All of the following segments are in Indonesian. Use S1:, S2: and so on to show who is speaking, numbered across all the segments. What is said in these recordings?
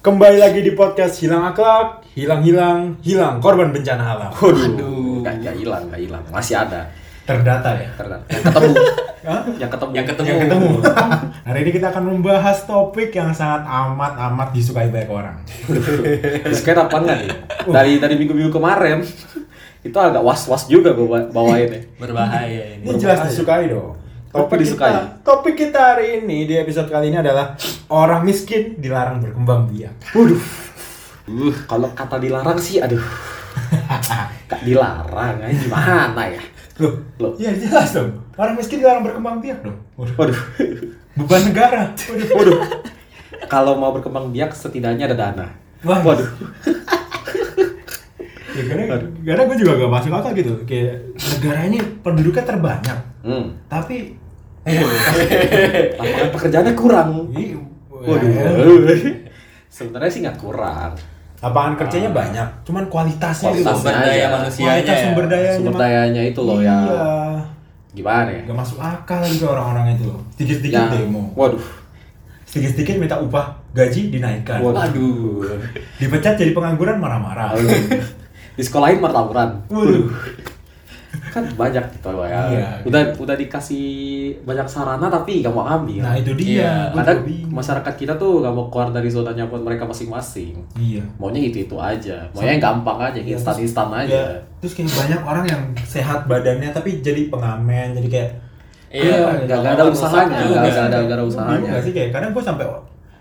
S1: Kembali lagi di podcast Hilang Akhlak, Hilang-Hilang, Hilang Korban Bencana Alam.
S2: Aduh, nggak nggak hilang, nggak hilang, masih ada.
S1: Terdata ya?
S2: Ternyata yang ketemu, yang ketemu, yang ketemu,
S1: Yang ketemu. Hari ini kita akan membahas topik yang sangat amat-amat disukai banyak orang.
S2: Sekarang apaan nggak nih? Dari dari minggu-minggu kemarin itu agak was-was juga gue bawain ya.
S3: berbahaya ini
S1: Ini jelas disukai dong.
S2: Topik disukai.
S1: Kita, topik kita hari ini di episode kali ini adalah orang miskin dilarang berkembang biak.
S2: Uh, kalau kata dilarang sih, aduh, kak dilarang, aja gimana ya?
S1: Loh,
S2: Loh.
S1: ya jelas dong. Orang miskin dilarang berkembang biak dong. Waduh.
S2: Waduh,
S1: Beban negara. Waduh.
S2: waduh. Kalau mau berkembang biak setidaknya ada dana.
S1: Wah.
S2: Waduh,
S1: Ya, karena, karena gue juga gak masuk akal gitu. Kayak negara ini penduduknya terbanyak,
S2: hmm.
S1: tapi
S2: Eh,
S1: eh,
S2: lapangan pekerjaannya kurang.
S1: Ih,
S2: Waduh, sebenarnya sih nggak kurang.
S1: Lapangan kerjanya banyak, cuman kualitasnya gitu.
S2: Kualitasnya
S3: sumber
S2: Manusianya
S3: daya
S2: ya,
S3: manusianya
S1: Kualitas
S3: ya.
S1: sumber dayanya.
S2: Sumber
S1: Mak.
S2: dayanya itu loh
S1: iya.
S2: ya, gimana ya?
S1: Gak masuk akal gitu orang-orang itu loh. Sedikit-sedikit
S2: Yang-
S1: demo.
S2: Waduh.
S1: Sedikit-sedikit minta upah, gaji dinaikkan.
S2: Waduh.
S1: Dipecat jadi pengangguran marah-marah.
S2: Lalu, di sekolahin malah tawuran.
S1: Waduh.
S2: Kan banyak gitu loh ya.
S1: Iya.
S2: Udah udah dikasih banyak sarana tapi gak mau ambil.
S1: Nah, itu dia.
S3: Iya,
S1: Gua
S2: Kadang
S1: juga bingung.
S2: masyarakat kita tuh gak mau keluar dari zona nyaman mereka masing-masing.
S1: Iya.
S2: Maunya itu-itu aja. Maunya yang gampang aja, yang instan-instan
S1: Ya,
S2: aja.
S1: terus kayak banyak orang yang sehat badannya tapi jadi pengamen, jadi kayak "Ah,
S2: Iya, gak, gak ada usahanya,
S3: Juga.
S2: gak, gak ada, gak ada
S1: Lu bingung
S2: usahanya.
S1: gak Iya, sih kayak kadang gue sampai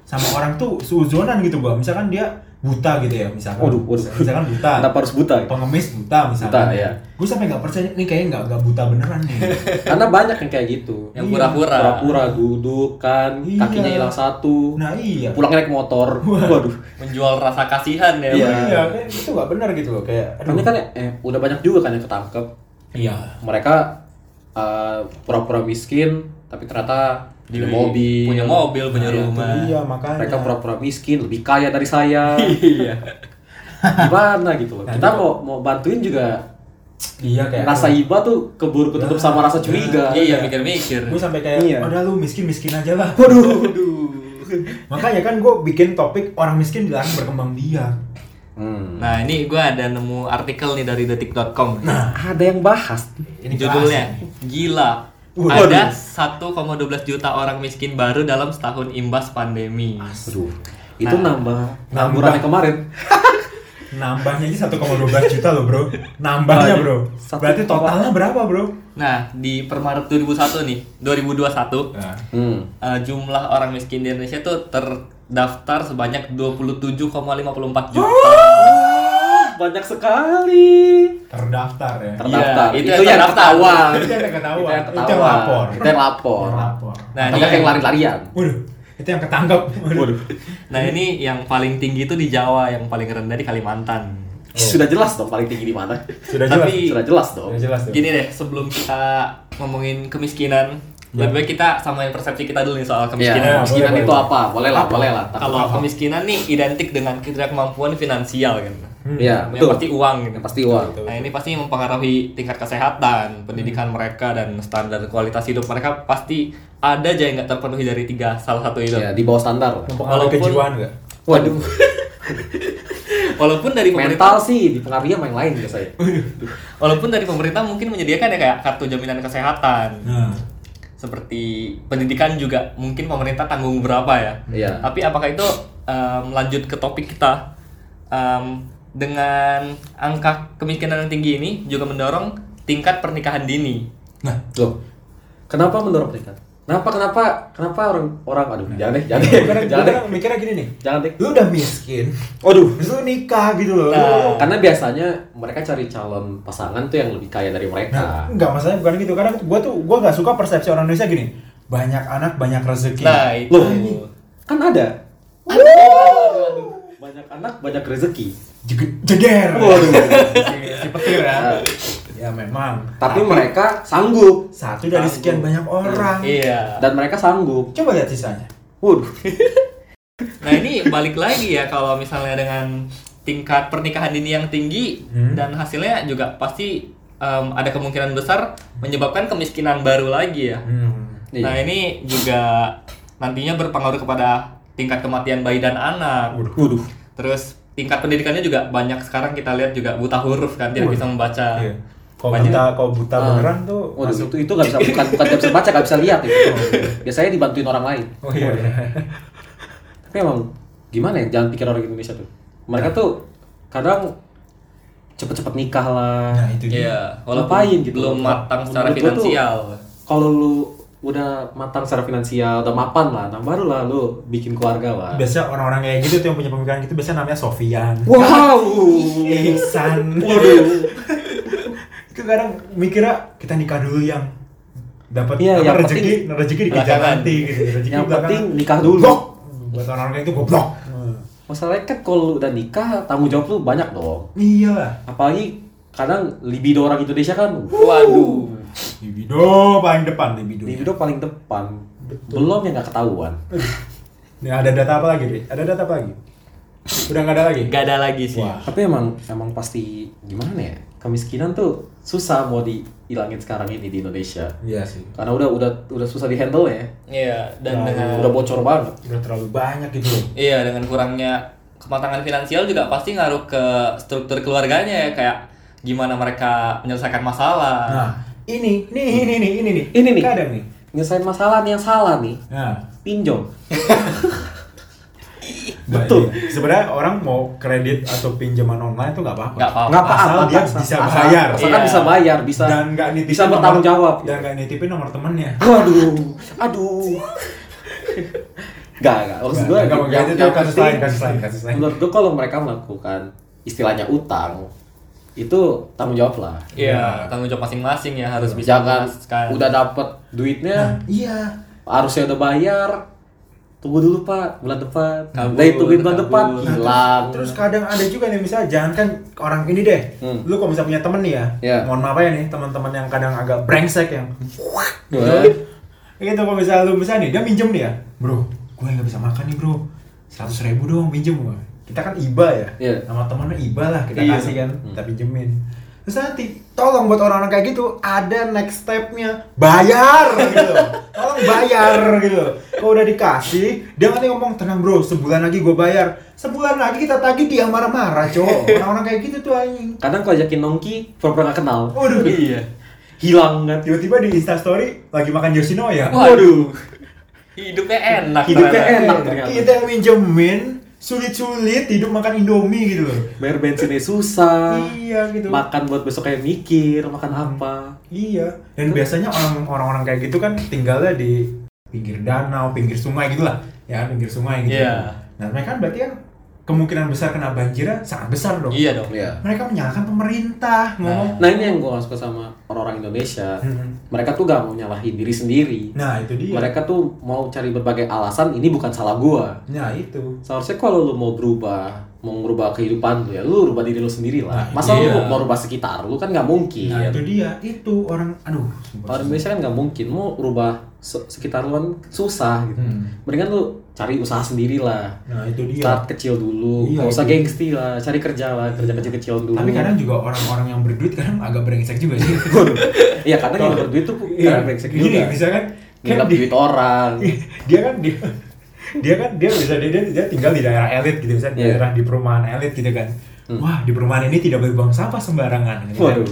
S1: sama orang tuh suuzonan gitu gua misalkan dia buta gitu ya misalkan
S2: Waduh, waduh.
S1: misalkan buta
S2: Kenapa harus buta?
S1: pengemis buta misalkan
S2: Buta, iya.
S1: gue sampai nggak percaya nih kayaknya nggak nggak buta beneran nih
S2: Karena banyak yang kayak gitu.
S3: Yang pura-pura.
S2: Pura-pura duduk kan,
S1: Iya.
S2: kakinya hilang satu.
S1: nah iya
S2: pulang naik motor. Waduh.
S3: menjual rasa kasihan ya.
S2: Iya.
S3: Bang.
S1: iya kayak itu nggak benar gitu loh kayak aduh.
S2: Ini kan eh, udah banyak juga kan yang ketangkep.
S1: iya
S2: Mereka eh, pura-pura miskin, tapi ternyata punya
S3: Di-
S2: mobil.
S3: Iya. punya mobil, punya
S2: Iya.
S3: rumah.
S1: iya makanya
S2: Mereka pura-pura miskin, lebih kaya dari saya.
S3: Iya.
S2: Gimana gitu loh.
S1: Nah,
S2: Kita
S1: itu-
S2: mau mau bantuin juga
S1: iya kayak
S2: rasa iba tuh keburu ketutup
S1: Nah,
S2: sama rasa
S1: nah,
S2: curiga.
S3: Iya, mikir-mikir.
S1: gue sampai kayak
S2: Iya.
S1: udah lu miskin miskin aja lah
S2: Waduh.
S1: makanya kan gue bikin topik orang miskin dilarang berkembang biak
S2: Hmm.
S3: Nah, ini gua ada nemu artikel nih dari detik.com. Nah,
S2: Ada yang bahas.
S3: judulnya gila.
S1: Waduh.
S3: Ada 1,12 juta orang miskin baru dalam setahun imbas pandemi.
S2: Waduh. Itu
S3: Nah.
S2: nambah nambah kemarin.
S1: Nambahnya aja 1,12 juta loh bro Nambahnya bro
S2: Satu
S1: Berarti
S2: koma-
S1: totalnya berapa bro?
S3: Nah, di per Maret 2001 nih, 2021
S1: Nah,
S2: Hmm.
S3: eh, jumlah orang miskin di Indonesia tuh terdaftar sebanyak 27,54 juta.
S2: Banyak sekali.
S1: terdaftar ya
S2: terdaftar.
S3: Iya,
S2: itu,
S3: itu
S2: yang ketahuan.
S3: yang ketahuan.
S1: Itu yang ketahuan.
S2: Itu yang
S1: Itu yang
S2: ketahuan.
S1: lapor.
S2: Itu yang lapor.
S1: Yang lapor.
S3: Nah,
S2: Atau
S3: ini
S2: nggak yang lari-larian.
S1: Waduh, itu yang ketangkep Waduh
S3: Nah ini yang paling tinggi itu di Jawa, yang paling rendah di Kalimantan.
S2: Sudah jelas dong paling tinggi di mana.
S1: Sudah
S3: Tapi-
S1: jelas
S2: Sudah jelas dong.
S1: Sudah jelas tuh
S3: Gini deh, sebelum kita ngomongin kemiskinan,
S2: Ya.
S3: lebih baik kita samain persepsi kita dulu nih soal
S2: Iya,
S3: kemiskinan.
S2: kemiskinan
S1: boleh,
S2: itu
S1: boleh.
S2: apa? Boleh lah, boleh lah. Tak-
S3: Kalau kemiskinan nih identik dengan tidak kemampuan finansial kan.
S2: Iya,
S3: Yang
S2: betul.
S3: pasti uang gitu.
S2: Yang pasti Hmm. uang.
S3: Nah ini pasti mempengaruhi tingkat kesehatan, pendidikan mereka dan standar kualitas hidup mereka pasti ada aja yang nggak terpenuhi dari tiga salah satu itu.
S2: Iya, di bawah standar.
S1: Mempengaruhi
S3: Walaupun-
S1: kejiwaan nggak?
S2: Waduh,
S3: Walaupun dari pemerintah
S2: mental sih dipengaruhi sama yang lain biasanya.
S3: Walaupun dari pemerintah mungkin menyediakan ya kayak kartu jaminan kesehatan.
S1: Nah,
S3: Seperti pendidikan juga mungkin pemerintah tanggung berapa ya.
S2: Iya.
S3: Tapi apakah itu em, lanjut ke topik kita Em, dengan angka kemiskinan yang tinggi ini juga mendorong tingkat pernikahan dini.
S1: nah
S2: Loh. Kenapa mendorong peningkat? Kenapa kenapa kenapa orang orang aduh jangan deh jangan deh
S1: gue kadang- gue
S2: jangan deh
S1: kadang mikirnya gini nih
S2: jangan deh.
S1: Lu udah miskin
S2: Waduh.
S1: Terus lu nikah gitu loh
S3: Nah,
S2: Karena biasanya mereka cari calon pasangan tuh yang lebih kaya dari mereka.
S1: Nah, enggak masalahnya bukan gitu Karena gue tuh, gue nggak suka persepsi orang Indonesia gini Banyak anak, banyak rezeki
S3: Nah, itu.
S2: Iya. Loh, kan ada. Banyak anak, banyak rezeki.
S1: Jege- Jeger
S2: Waduh.
S1: Si- Si petir ya Ya memang.
S2: Tapi mereka sanggup
S1: satu dari sekian banyak orang.
S3: Iya.
S2: dan mereka sanggup.
S1: Coba lihat sisanya.
S2: Waduh,
S3: Nah ini balik lagi ya kalau misalnya dengan tingkat pernikahan dini yang tinggi
S1: Hmm.
S3: dan hasilnya juga pasti em, ada kemungkinan besar menyebabkan kemiskinan baru lagi ya.
S1: Hmm.
S3: Nah
S2: Iya.
S3: ini juga nantinya berpengaruh kepada tingkat kematian bayi dan anak.
S2: waduh.
S3: Terus tingkat pendidikannya juga banyak sekarang kita lihat juga buta huruf kan tidak
S1: Waduh.
S3: bisa membaca.
S1: Iya. Kalau
S3: Banyak.
S1: buta, kalau buta
S2: Ah.
S1: beneran tuh
S2: Waduh,
S1: masuk.
S2: itu itu nggak bisa bukan bukan nggak bisa baca, nggak bisa lihat itu. Biasanya dibantuin orang lain.
S1: Oh iya.
S2: Tapi emang gimana ya? Jangan pikir orang Indonesia tuh. Mereka tuh kadang cepet-cepet nikah lah.
S1: Nah itu dia.
S3: Iya, walaupun
S2: Ngapain gitu?
S3: belum matang secara
S2: Menurut gua tuh-
S3: finansial.
S2: Kalau lu udah matang secara finansial, udah mapan lah, nah baru lah lu bikin keluarga lah.
S1: Biasanya orang-orang kayak gitu tuh yang punya pemikiran gitu biasanya namanya Sofian.
S2: Wow.
S1: Nah. Ihsan.
S2: Waduh.
S1: Itu kadang mikirnya kita nikah dulu yang dapat
S2: Iya,
S1: apa,
S2: yang
S1: rezeki, rezeki dikejar
S3: belakangan.
S1: nanti gitu. Rezeki
S2: Yang
S1: belakangan.
S2: penting nikah dulu.
S1: Goblok. Buat orang-orang kayak itu goblok.
S2: Masalahnya kan kalau lu udah nikah, tanggung jawab lu banyak dong.
S1: Iya lah.
S2: Apalagi kadang libido orang Indonesia kan
S3: Waduh.
S1: Libido paling depan libido.
S2: libido paling depan. Belum yang nggak ketahuan.
S1: Nih ada data apa lagi, Ri? Ada data apa lagi? Udah nggak ada lagi?
S3: Gak ada lagi sih.
S1: Wah.
S2: Tapi emang emang pasti gimana ya? Kemiskinan tuh susah mau dihilangin sekarang ini di Indonesia.
S1: Iya sih.
S2: Karena udah udah udah susah dihandle ya.
S3: Iya,
S1: Nah,
S3: dan dengan
S2: Udah bocor banget.
S1: Udah terlalu banyak gitu loh.
S3: Iya, dengan kurangnya kematangan finansial juga pasti ngaruh ke struktur keluarganya ya, kayak gimana mereka menyelesaikan masalah.
S1: Nah, ini, ini, ini, ini, ini nih.
S2: Ini nih.
S1: Kadang nih.
S2: Nyelesain masalah nih yang salah nih.
S1: Nah,
S2: Pinjam.
S1: betul. Nah, iya. Sebenarnya orang mau kredit atau pinjaman online tuh nggak apa-apa.
S3: Nggak apa-apa.
S2: Nggak apa-apa.
S1: Asal dia
S2: asal-
S1: bisa
S2: asal-
S1: bayar.
S2: Asal kan
S3: Iya.
S2: bisa bayar, bisa
S1: dan nggak nitipin
S2: bisa
S1: nomor-
S2: bertanggung jawab. gitu.
S1: Dan nggak nitipin nomor temennya.
S2: Waduh, aduh. Gak, gak. Maksud gitu. gue,
S1: Nggak, nggak, itu tuh kasus lain, kasus lain, kasus lain.
S2: Menurut gue kalau mereka melakukan istilahnya utang, itu tanggung jawab lah.
S3: Iya, tanggung jawab masing-masing ya
S2: Iya.
S3: harus bisa
S2: Jangan
S3: memutuskan.
S2: udah dapet duitnya,
S1: Iya.
S2: harusnya udah bayar, tunggu dulu pak, bulan depan.
S3: Kabur,
S2: Nah itu bulan
S3: kabur.
S2: depan,
S1: Nah,
S3: Nah,
S1: terus-
S2: hilang.
S1: Terus kadang ada juga nih misalnya jangan kan orang ini deh.
S2: Hmm.
S1: Lu kalau misalnya punya temen nih ya.
S2: Iya.
S1: Mohon maaf ya nih teman-teman yang kadang agak brengsek yang
S2: Wah,
S1: Kayak gitu kalau misalnya lu misalnya nih dia minjem nih ya bro gue nggak bisa makan nih bro seratus ribu dong minjem gue kita kan iba ya
S2: Iya.
S1: nama temennya iba lah kita
S3: Iya.
S1: kasih kan kita pinjemin terus nanti tolong buat orang-orang kayak gitu ada next stepnya bayar gitu tolong bayar gitu kalau udah dikasih dia nanti ngomong tenang bro sebulan lagi gue bayar sebulan lagi kita tagih dia marah-marah cowok orang-orang kayak gitu tuh anjing
S2: Kadang kalau ajakin nongki, pura-pura gak kenal.
S1: waduh
S3: iya.
S2: Hilang kan.
S1: tiba-tiba di instastory lagi makan Yoshinoya
S3: Waduh. Hidupnya enak.
S2: Hidupnya
S3: ternyata.
S2: enak ternyata.
S1: Kita yang minjemin sulit-sulit hidup makan Indomie gitu loh.
S2: Bayar bensinnya susah.
S1: Iya Hmm. gitu.
S2: Makan buat besok kayak mikir, makan apa.
S1: iya. Dan biasanya orang- orang-orang kayak gitu kan tinggalnya di pinggir danau, pinggir sungai gitu lah. Ya, pinggir sungai gitu.
S3: Iya.
S1: Nah, mereka kan berarti kan kemungkinan besar kena banjirnya sangat besar dong.
S3: Iya dong.
S2: Iya.
S1: Mereka menyalahkan pemerintah ngomong.
S2: Nah ini yang gue suka sama orang-orang Indonesia.
S1: Hmm.
S2: Mereka tuh gak mau nyalahin diri sendiri.
S1: Nah, itu dia.
S2: Mereka tuh mau cari berbagai alasan. Ini bukan salah gua.
S1: Nah, itu.
S2: Seharusnya kalau lu mau berubah, mau merubah kehidupan lu ya, lu rubah diri lu sendiri lah.
S1: Nah,
S2: Masa
S3: iya.
S2: lu mau rubah sekitar lu kan nggak mungkin.
S1: Nah, itu dia. Itu orang aduh. sumpah.
S2: Orang Indonesia kan nggak mungkin mau rubah se- sekitar lu kan susah gitu.
S1: Hmm.
S2: Mendingan lu cari usaha sendiri lah.
S1: Nah, itu dia.
S2: Start kecil dulu,
S1: Iya,
S2: nggak usah
S1: itu.
S2: gengsi lah, cari kerja lah, kerja kecil-kecil dulu.
S1: Tapi kadang juga orang-orang yang berduit kadang agak brengsek juga sih.
S2: Waduh. Iya karena yang berduit tuh
S1: Iya,
S2: karena brengsek
S1: gini,
S2: juga.
S1: bisa kan? Kan
S2: Ngelap
S1: di-
S2: duit orang.
S1: dia kan dia dia kan dia bisa dia, dia, dia tinggal di daerah elit gitu misalnya di
S2: Iya. Hmm.
S1: daerah di perumahan elit gitu kan wah di perumahan ini tidak boleh buang sampah sembarangan gitu kan.
S2: Waduh.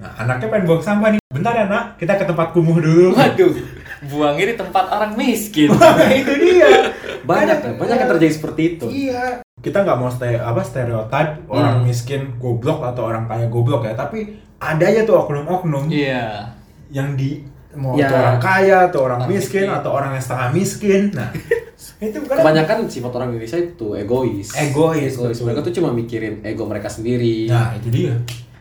S1: nah anaknya pengen buang sampah nih bentar ya nak kita ke tempat kumuh dulu
S3: Waduh. Buangnya di tempat orang miskin.
S1: Nah, itu dia
S2: Banyak kan, banyak yang terjadi seperti itu. Hmm.
S1: iya kita nggak mau ste apa stereotip orang miskin goblok atau orang kaya goblok ya tapi ada aja tuh oknum-oknum
S3: Iya.
S1: yang di mau
S2: Ya.
S1: itu orang kaya atau orang
S3: Orang
S1: miskin,
S3: miskin.
S1: atau orang yang setengah miskin nah itu kan
S2: Kebanyakan sifat orang Indonesia itu egois.
S1: Egois, betul.
S2: Mereka tuh cuma mikirin ego mereka sendiri.
S1: nah itu dia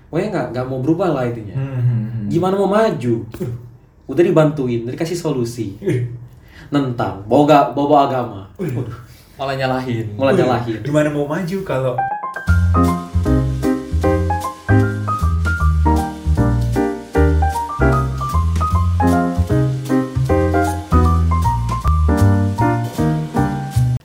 S2: Pokoknya nggak nggak mau berubah lah intinya.
S1: Hmm, hmm, hmm.
S2: Gimana mau maju? Udah dibantuin, udah dikasih solusi.
S1: Ih,
S2: Nentang, bawa ga- bawa, bawa agama.
S1: Waduh.
S3: Malah nyalahin.
S2: Mulai nyalahin.
S1: Gimana mau maju kalau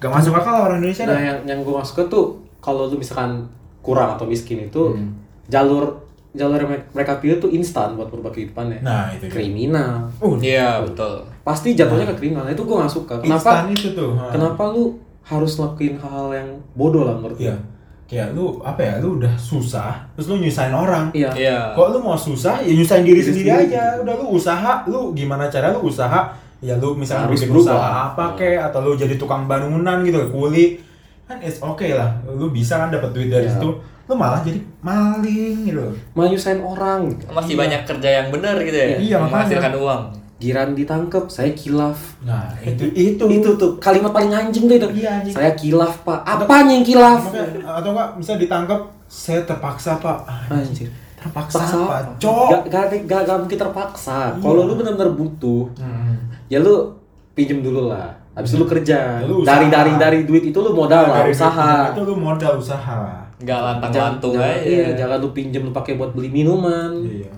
S1: Indonesia
S2: nah
S1: dah.
S2: yang yang gue maksud tuh kalau lu misalkan kurang atau miskin itu
S1: Hmm.
S2: jalur jalur yang me- mereka pilih tuh instan buat merubah kehidupannya
S1: Nah, itu dia.
S2: kriminal
S1: Oh,
S3: Iya, betul.
S2: pasti jatuhnya ke kriminal Nah, itu gue nggak suka
S1: instan
S2: kenapa
S1: itu tuh. ha.
S2: kenapa lu harus lakuin hal-hal yang bodoh lah menurut
S1: Iya.
S2: gue
S1: Kayak lu apa ya? Lu udah susah, terus lu nyusahin orang.
S2: iya
S3: Iya.
S1: Kok lu mau susah, ya nyusahin diri
S2: Diri
S1: sendiri
S2: sendiri.
S1: aja. Udah lu usaha, lu gimana cara lu usaha? Ya lu misalnya
S2: Harus
S1: bikin
S2: berubah.
S1: usaha apa kek atau lu jadi tukang bangunan gitu, kuli. Kan it's okay lah. Lu bisa kan dapat duit dari
S2: Iya.
S1: situ. Lu malah jadi maling gitu.
S2: malah nyusahin orang
S3: Masih banyak kerja yang benar gitu ya.
S1: Iya, makanya.
S3: menghasilkan uang.
S2: Giran ditangkep, saya kilaf.
S1: Nah, itu itu
S2: Itu tuh kalimat paling anjing tuh itu.
S1: Iya, anjing.
S2: Saya kilaf, Pak. Apanya yang kilaf?
S1: Makanya, atau enggak bisa ditangkap saya terpaksa pak Ah,
S2: Anjir.
S1: terpaksa,
S2: Paksa,
S1: pak
S2: apa?
S1: cok
S2: Gak, gak, gak- gak mungkin terpaksa.
S1: Iya.
S2: Kalau lu benar-benar butuh,
S1: Hmm.
S2: ya lu pinjem dulu lah. Habis itu lu kerja.
S1: Ya, lu usaha.
S2: dari dari dari duit itu lu modal
S1: Nah,
S2: lah,
S1: Dari
S2: usaha.
S1: duit itu lu modal usaha
S3: Nggak lantang-lantung
S2: jangan,
S3: aja.
S2: iya, jangan lu pinjem lu pakai buat beli minuman.
S1: iya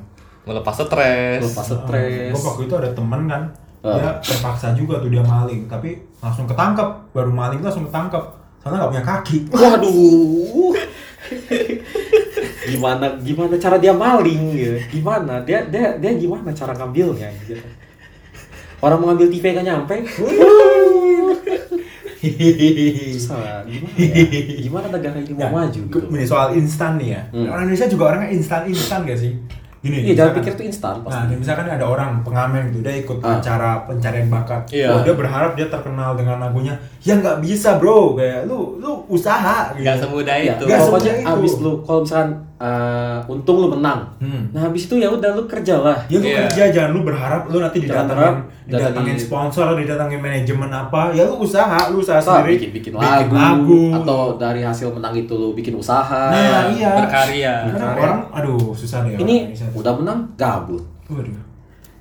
S3: Melepas stres.
S2: Melepas stres.
S1: Gua waktu itu ada temen kan
S2: Ah.
S1: dia terpaksa juga tuh dia maling tapi langsung ketangkep baru maling tuh langsung ketangkep soalnya nggak punya kaki
S2: Waduh. gimana gimana cara dia maling gitu. Gimana dia dia dia gimana cara ngambilnya gitu. Orang mau ngambil TV gak nyampe. Susah. lah. Gimana, ya? gimana negara ini
S1: Ya,
S2: mau maju
S1: Iya. ke-
S2: gitu.
S1: ini soal instan nih ya
S2: Hmm.
S1: orang Indonesia juga orangnya instan instan gak sih gini
S2: Iya, jangan
S1: misalkan-
S2: pikir tuh instan
S1: Nah,
S2: pasti.
S1: misalkan ada orang pengamen gitu, dia ikut
S2: Ah.
S1: acara pencarian bakat.
S3: Iya.
S1: Oh, dia berharap dia terkenal dengan lagunya. Ya nggak bisa, bro. Kayak lu lu usaha. gitu.
S3: Nggak semudah
S2: Ya,
S3: itu.
S1: Nggak
S2: pokoknya
S1: semudah itu.
S2: abis lu kalau misalkan eh, untung lu menang.
S1: Hmm.
S2: Nah, habis itu ya udah lu kerja lah.
S1: Ya lu
S3: Iya.
S1: kerja jangan lu berharap lu nanti
S2: Jangan
S1: didatangin
S2: berharap,
S1: didatangin
S2: datangin-
S1: sponsor, didatangin manajemen apa. Ya lu usaha, lu usaha
S2: Usaha,
S1: sendiri.
S2: bikin bikin lagu,
S1: lagu.
S2: atau dari hasil menang itu lu bikin usaha.
S1: Nah, iya.
S3: Berkarya.
S1: Karena
S2: Berkarya.
S1: orang aduh susah deh
S2: ini
S1: orang Indonesia.
S2: udah menang gabut.
S1: Waduh.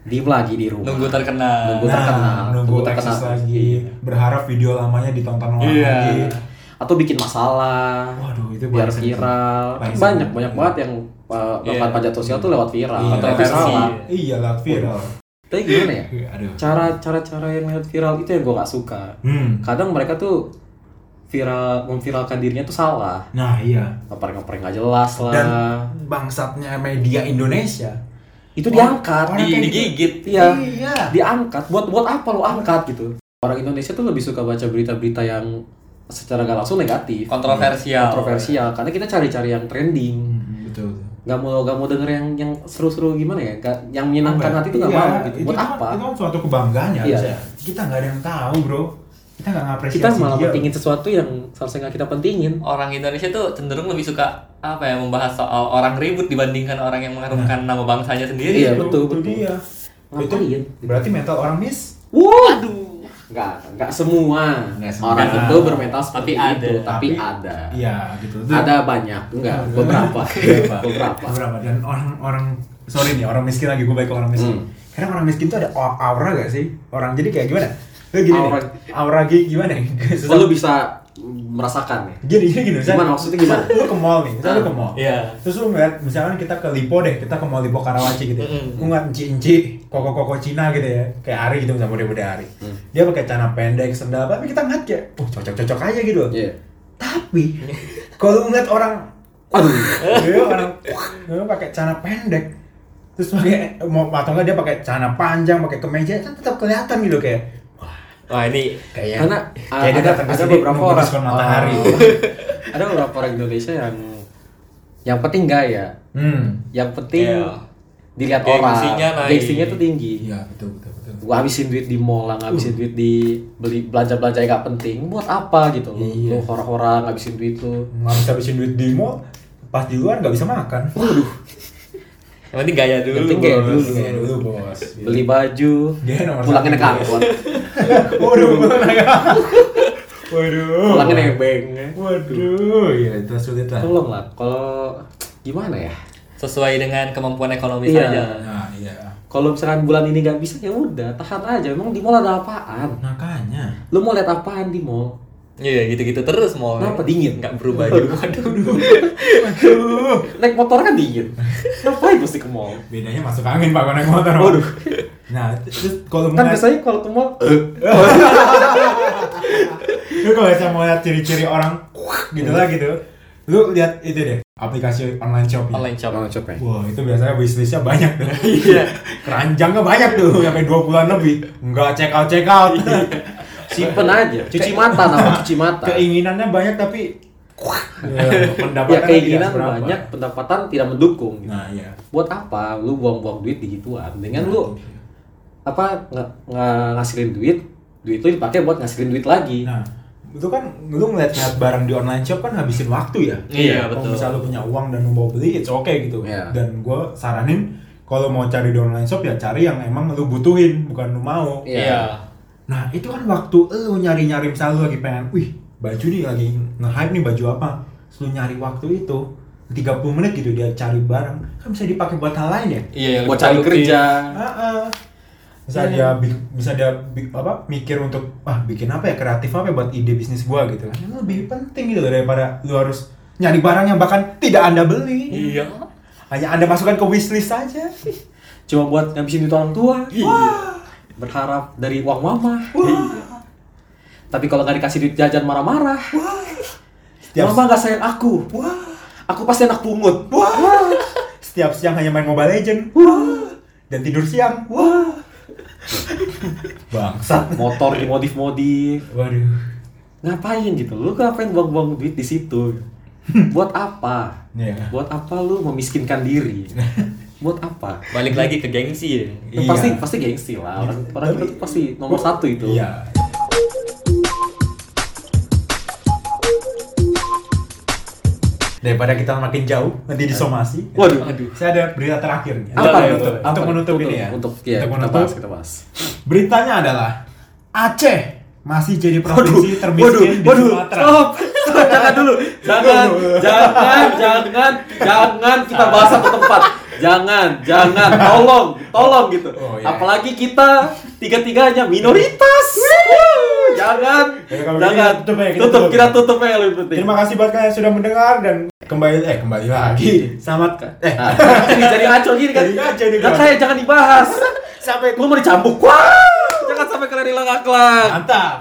S2: Diem lagi di rumah.
S3: Nunggu terkenal.
S2: Nunggu terkenal,
S1: Nah, nunggu
S2: nunggu terkenal. Iya.
S1: eksis lagi, berharap video lamanya ditonton orang
S3: Iya.
S1: lagi.
S2: atau bikin masalah
S1: Waduh, itu
S2: biar
S1: paling sedih.
S2: viral
S1: Paling
S2: Kan
S1: sedih.
S2: banyak banyak banget yang uh, melakukan
S3: Iya.
S2: pajak sosial tuh lewat viral
S1: Iya,
S2: atau lewat
S3: versi.
S2: masalah
S1: Iya lah viral.
S2: tapi gimana ya
S1: Aduh.
S2: cara cara cara yang lewat viral itu yang gue gak suka
S1: Hmm.
S2: kadang mereka tuh viral memviralkan dirinya tuh salah
S1: Nah, iya.
S2: ngeprank ngeprank gak jelas lah
S1: dan bangsatnya media Indonesia
S2: itu diangkat
S1: orang
S3: Di,
S1: kayak gitu.
S3: digigit.
S2: iya
S1: iya
S2: diangkat buat buat apa lu angkat gitu orang Indonesia tuh lebih suka baca berita-berita yang secara gak langsung negatif
S3: Kontroversial.
S2: kontroversial karena kita cari-cari yang trending
S1: Hmm, betul
S2: nggak mau nggak mau denger yang yang seru-seru gimana ya Nggak- yang menyenangkan hati tuh nggak
S1: Iya,
S2: mau gitu
S1: itu
S2: buat
S1: kan-
S2: apa
S1: itu kan suatu kebanggaan ya
S2: Iya.
S1: harusnya. kita nggak ada yang tahu bro kita nggak ngapresiasi
S2: kita malah
S1: dia.
S2: pentingin sesuatu yang seharusnya nggak kita pentingin
S3: Orang Indonesia tuh cenderung lebih suka apa ya membahas soal orang ribut dibandingkan orang yang mengharumkan nama
S2: Iya,
S3: bangsanya sendiri.
S1: Itu-
S2: betul,
S1: itu
S2: betul.
S1: dia itu
S2: Ngapain?
S1: berarti mental orang miss
S2: waduh nggak nggak semua
S1: Nggak semua.
S2: orang
S1: Nggak.
S2: itu bermental seperti
S3: Tapi ada.
S2: itu Gitu, tapi ada
S1: iya gitu Itu-
S2: ada banyak enggak
S1: Ada.
S2: beberapa
S1: Beberapa.
S2: beberapa
S1: beberapa dan orang-orang sorry nih orang miskin lagi gue baik ke orang miskin
S2: Hmm.
S1: karena orang miskin tuh ada au- aura gak sih orang jadi kayak gimana Lu gini aura,
S2: Aura.
S1: aura gi- gimana ya? Susah.
S2: lu bisa merasakan ya
S1: gini gini gini misalnya-
S2: Gimana maksudnya gimana? Hmm.
S1: lu ke mall nih misalnya lu ke mall
S3: Iya.
S1: terus lu ngeliat misalkan kita ke Lipo deh kita ke mall Lipo Karawaci gitu
S3: Mm-mm.
S1: lu ngeliat enci enci koko koko Cina gitu ya kayak Ari gitu misalnya model model Ari
S2: Mm.
S1: dia pakai celana pendek sendal tapi kita ngeliat kayak oh cocok cocok aja gitu
S2: Iya.
S1: tapi kalau lu ngeliat orang
S2: aduh
S1: dia orang dia pakai celana pendek terus pakai mau atau enggak dia pakai celana panjang pakai kemeja kan tetap kelihatan gitu kayak
S3: Wah ini
S1: kayak
S2: karena
S1: kayak
S2: uh,
S1: Iya. dia
S2: ada,
S1: datang ke
S2: ada
S1: sini
S2: beberapa
S1: nunggu
S2: orang
S1: diskon matahari
S2: Oh. ada beberapa orang Indonesia yang yang penting gaya
S1: hmm
S2: yang penting
S3: Iya.
S2: dilihat orang
S3: Gengsinya naik.
S2: gengsinya tuh tinggi
S1: iya betul betul betul
S2: gua habisin duit di mall lah ngabisin duit di beli belanja belanja yang gak penting buat apa gitu lo
S1: Iya.
S2: lo horor-horor ngabisin duit lo
S1: nggak bisa habisin duit di mall pas di luar nggak bisa makan
S3: yang penting gaya dulu.
S2: Yang penting gaya
S3: Bos.
S2: dulu.
S1: Gaya dulu bos
S2: beli baju
S1: Iya. Dia nomor
S2: pulangin
S1: satu.
S2: ke kantor
S1: waduh pulang. waduh
S2: pulangin nebeng
S1: waduh ya itu sulit lah
S2: tolong lah kalau gimana ya
S3: Sesuai dengan kemampuan ekonomi
S2: Iya.
S3: saja.
S1: nah iya
S2: kalau misalkan bulan ini nggak bisa ya udah tahan aja emang di mall ada apaan
S1: makanya
S2: lu mau lihat apaan di mall
S3: Iya gitu-gitu terus mau.
S2: Kenapa dingin?
S3: Nggak berubah juga.
S1: waduh
S2: naik motor kan dingin ngapain mesti ke mall
S1: bedanya masuk angin pak kalau naik motor
S2: Waduh.
S1: nah terus kalau
S2: kan
S1: mulai
S2: biasanya kalau ke mall
S1: lu kalau bisa mau lihat ciri-ciri orang wah, gitu lah gitu lu lihat itu deh aplikasi online shop
S3: online shop
S2: Mau coba.
S1: Wah itu biasanya wishlistnya banyak tuh
S3: Iya.
S1: Keranjangnya banyak tuh, sampai 2 bulan lebih Nggak check out, check out
S2: Simpen aja. Cuci mata nama cuci mata.
S1: Keinginannya banyak tapi Kuah
S2: Ya
S1: Pendapatannya
S2: keinginan
S1: tidak seberapa.
S2: banyak, pendapatan tidak mendukung. gitu.
S1: kan Nah iya
S2: Buat apa lu buang-buang duit di gituan? Dengan lu
S1: Nah.
S2: apa nge- nge- ngasilin duit, duit itu dipakai buat ngasilin duit lagi.
S1: Nah itu kan lu ngeliat-ngeliat barang di online shop kan habisin waktu ya
S3: Iya,
S1: Kalau
S3: betul.
S1: misalnya lu punya uang dan lu mau beli it's okay gitu
S2: Iya.
S1: Dan gue saranin kalau mau cari di online shop ya cari yang emang lu butuhin bukan lu mau
S2: Iya.
S3: Iya.
S1: Nah itu kan waktu lu nyari-nyari misalnya lu lagi pengen, wih baju nih lagi nge-hype nih baju apa Terus lu nyari waktu itu 30 menit gitu dia cari barang kan bisa dipakai buat hal lain ya
S3: Iya, yang
S2: buat cari
S3: produktif.
S2: kerja.
S1: Heeh. bisa dia bi- bisa dia bi- apa mikir untuk ah bikin apa ya kreatif apa ya buat ide bisnis gua gitu kan Itu lebih penting gitu loh daripada lu harus nyari barang yang bahkan tidak anda beli
S3: Iya.
S1: hanya anda masukkan ke wishlist saja
S2: Cuma buat ngabisin duit orang tua.
S1: Iya.
S2: Berharap dari uang mama. Iya. Tapi kalau nggak dikasih duit jajan marah-marah.
S1: setiap
S2: Mama nggak sayang aku. Aku pasti anak pungut.
S1: Wah. Setiap siang hanya main Mobile Legend. Dan tidur siang. Wah. Bangsat.
S2: Motor dimodif-modif.
S1: Waduh.
S2: Ngapain gitu? Lu ngapain buang-buang duit di situ? buat apa?
S1: Iya.
S2: Buat apa lu memiskinkan diri? buat apa?
S3: Balik lagi ke gengsi ya.
S1: Iya.
S2: Pasti pasti gengsi lah. Orang orang
S1: Tapi-
S2: itu tuh pasti nomor satu itu.
S1: Iya. Daripada kita makin jauh nanti disomasi.
S2: Waduh.
S3: Iya.
S1: Saya ada berita terakhir nih.
S2: Apa
S1: Untuk
S2: nih?
S1: menutup-
S2: Apa
S1: Untuk
S2: nih?
S1: menutup ini ya.
S2: Untuk ya,
S1: Untuk
S2: kita
S1: menutup.
S2: bahas, kita bahas.
S1: Beritanya adalah Aceh masih jadi provinsi termiskin di Sumatera.
S2: stop. Stop, jangan dulu. Jangan, jangan, jangan, jangan kita bahas satu tempat. Jangan, jangan, tolong, tolong gitu.
S1: Oh, iya.
S2: Apalagi kita tiga-tiganya minoritas. Wuh, jangan,
S1: Ya, kalau
S2: jangan.
S1: gini, tutup ya, kita
S2: tutup,
S1: tutup.
S2: kita tutup ya lebih penting.
S1: Terima kasih buat kalian yang sudah mendengar dan kembali eh kembali lagi.
S2: Iya.
S1: Selamat eh
S2: Nah, ini jadi acur gini kan.
S1: Iya, Jadi ngaco nih,
S2: Gak
S1: Bang.
S2: kayak jangan dibahas.
S1: sampai
S2: Lu mau dicambuk. Wah, jangan sampai kalian hilang akhlak.
S1: mantap.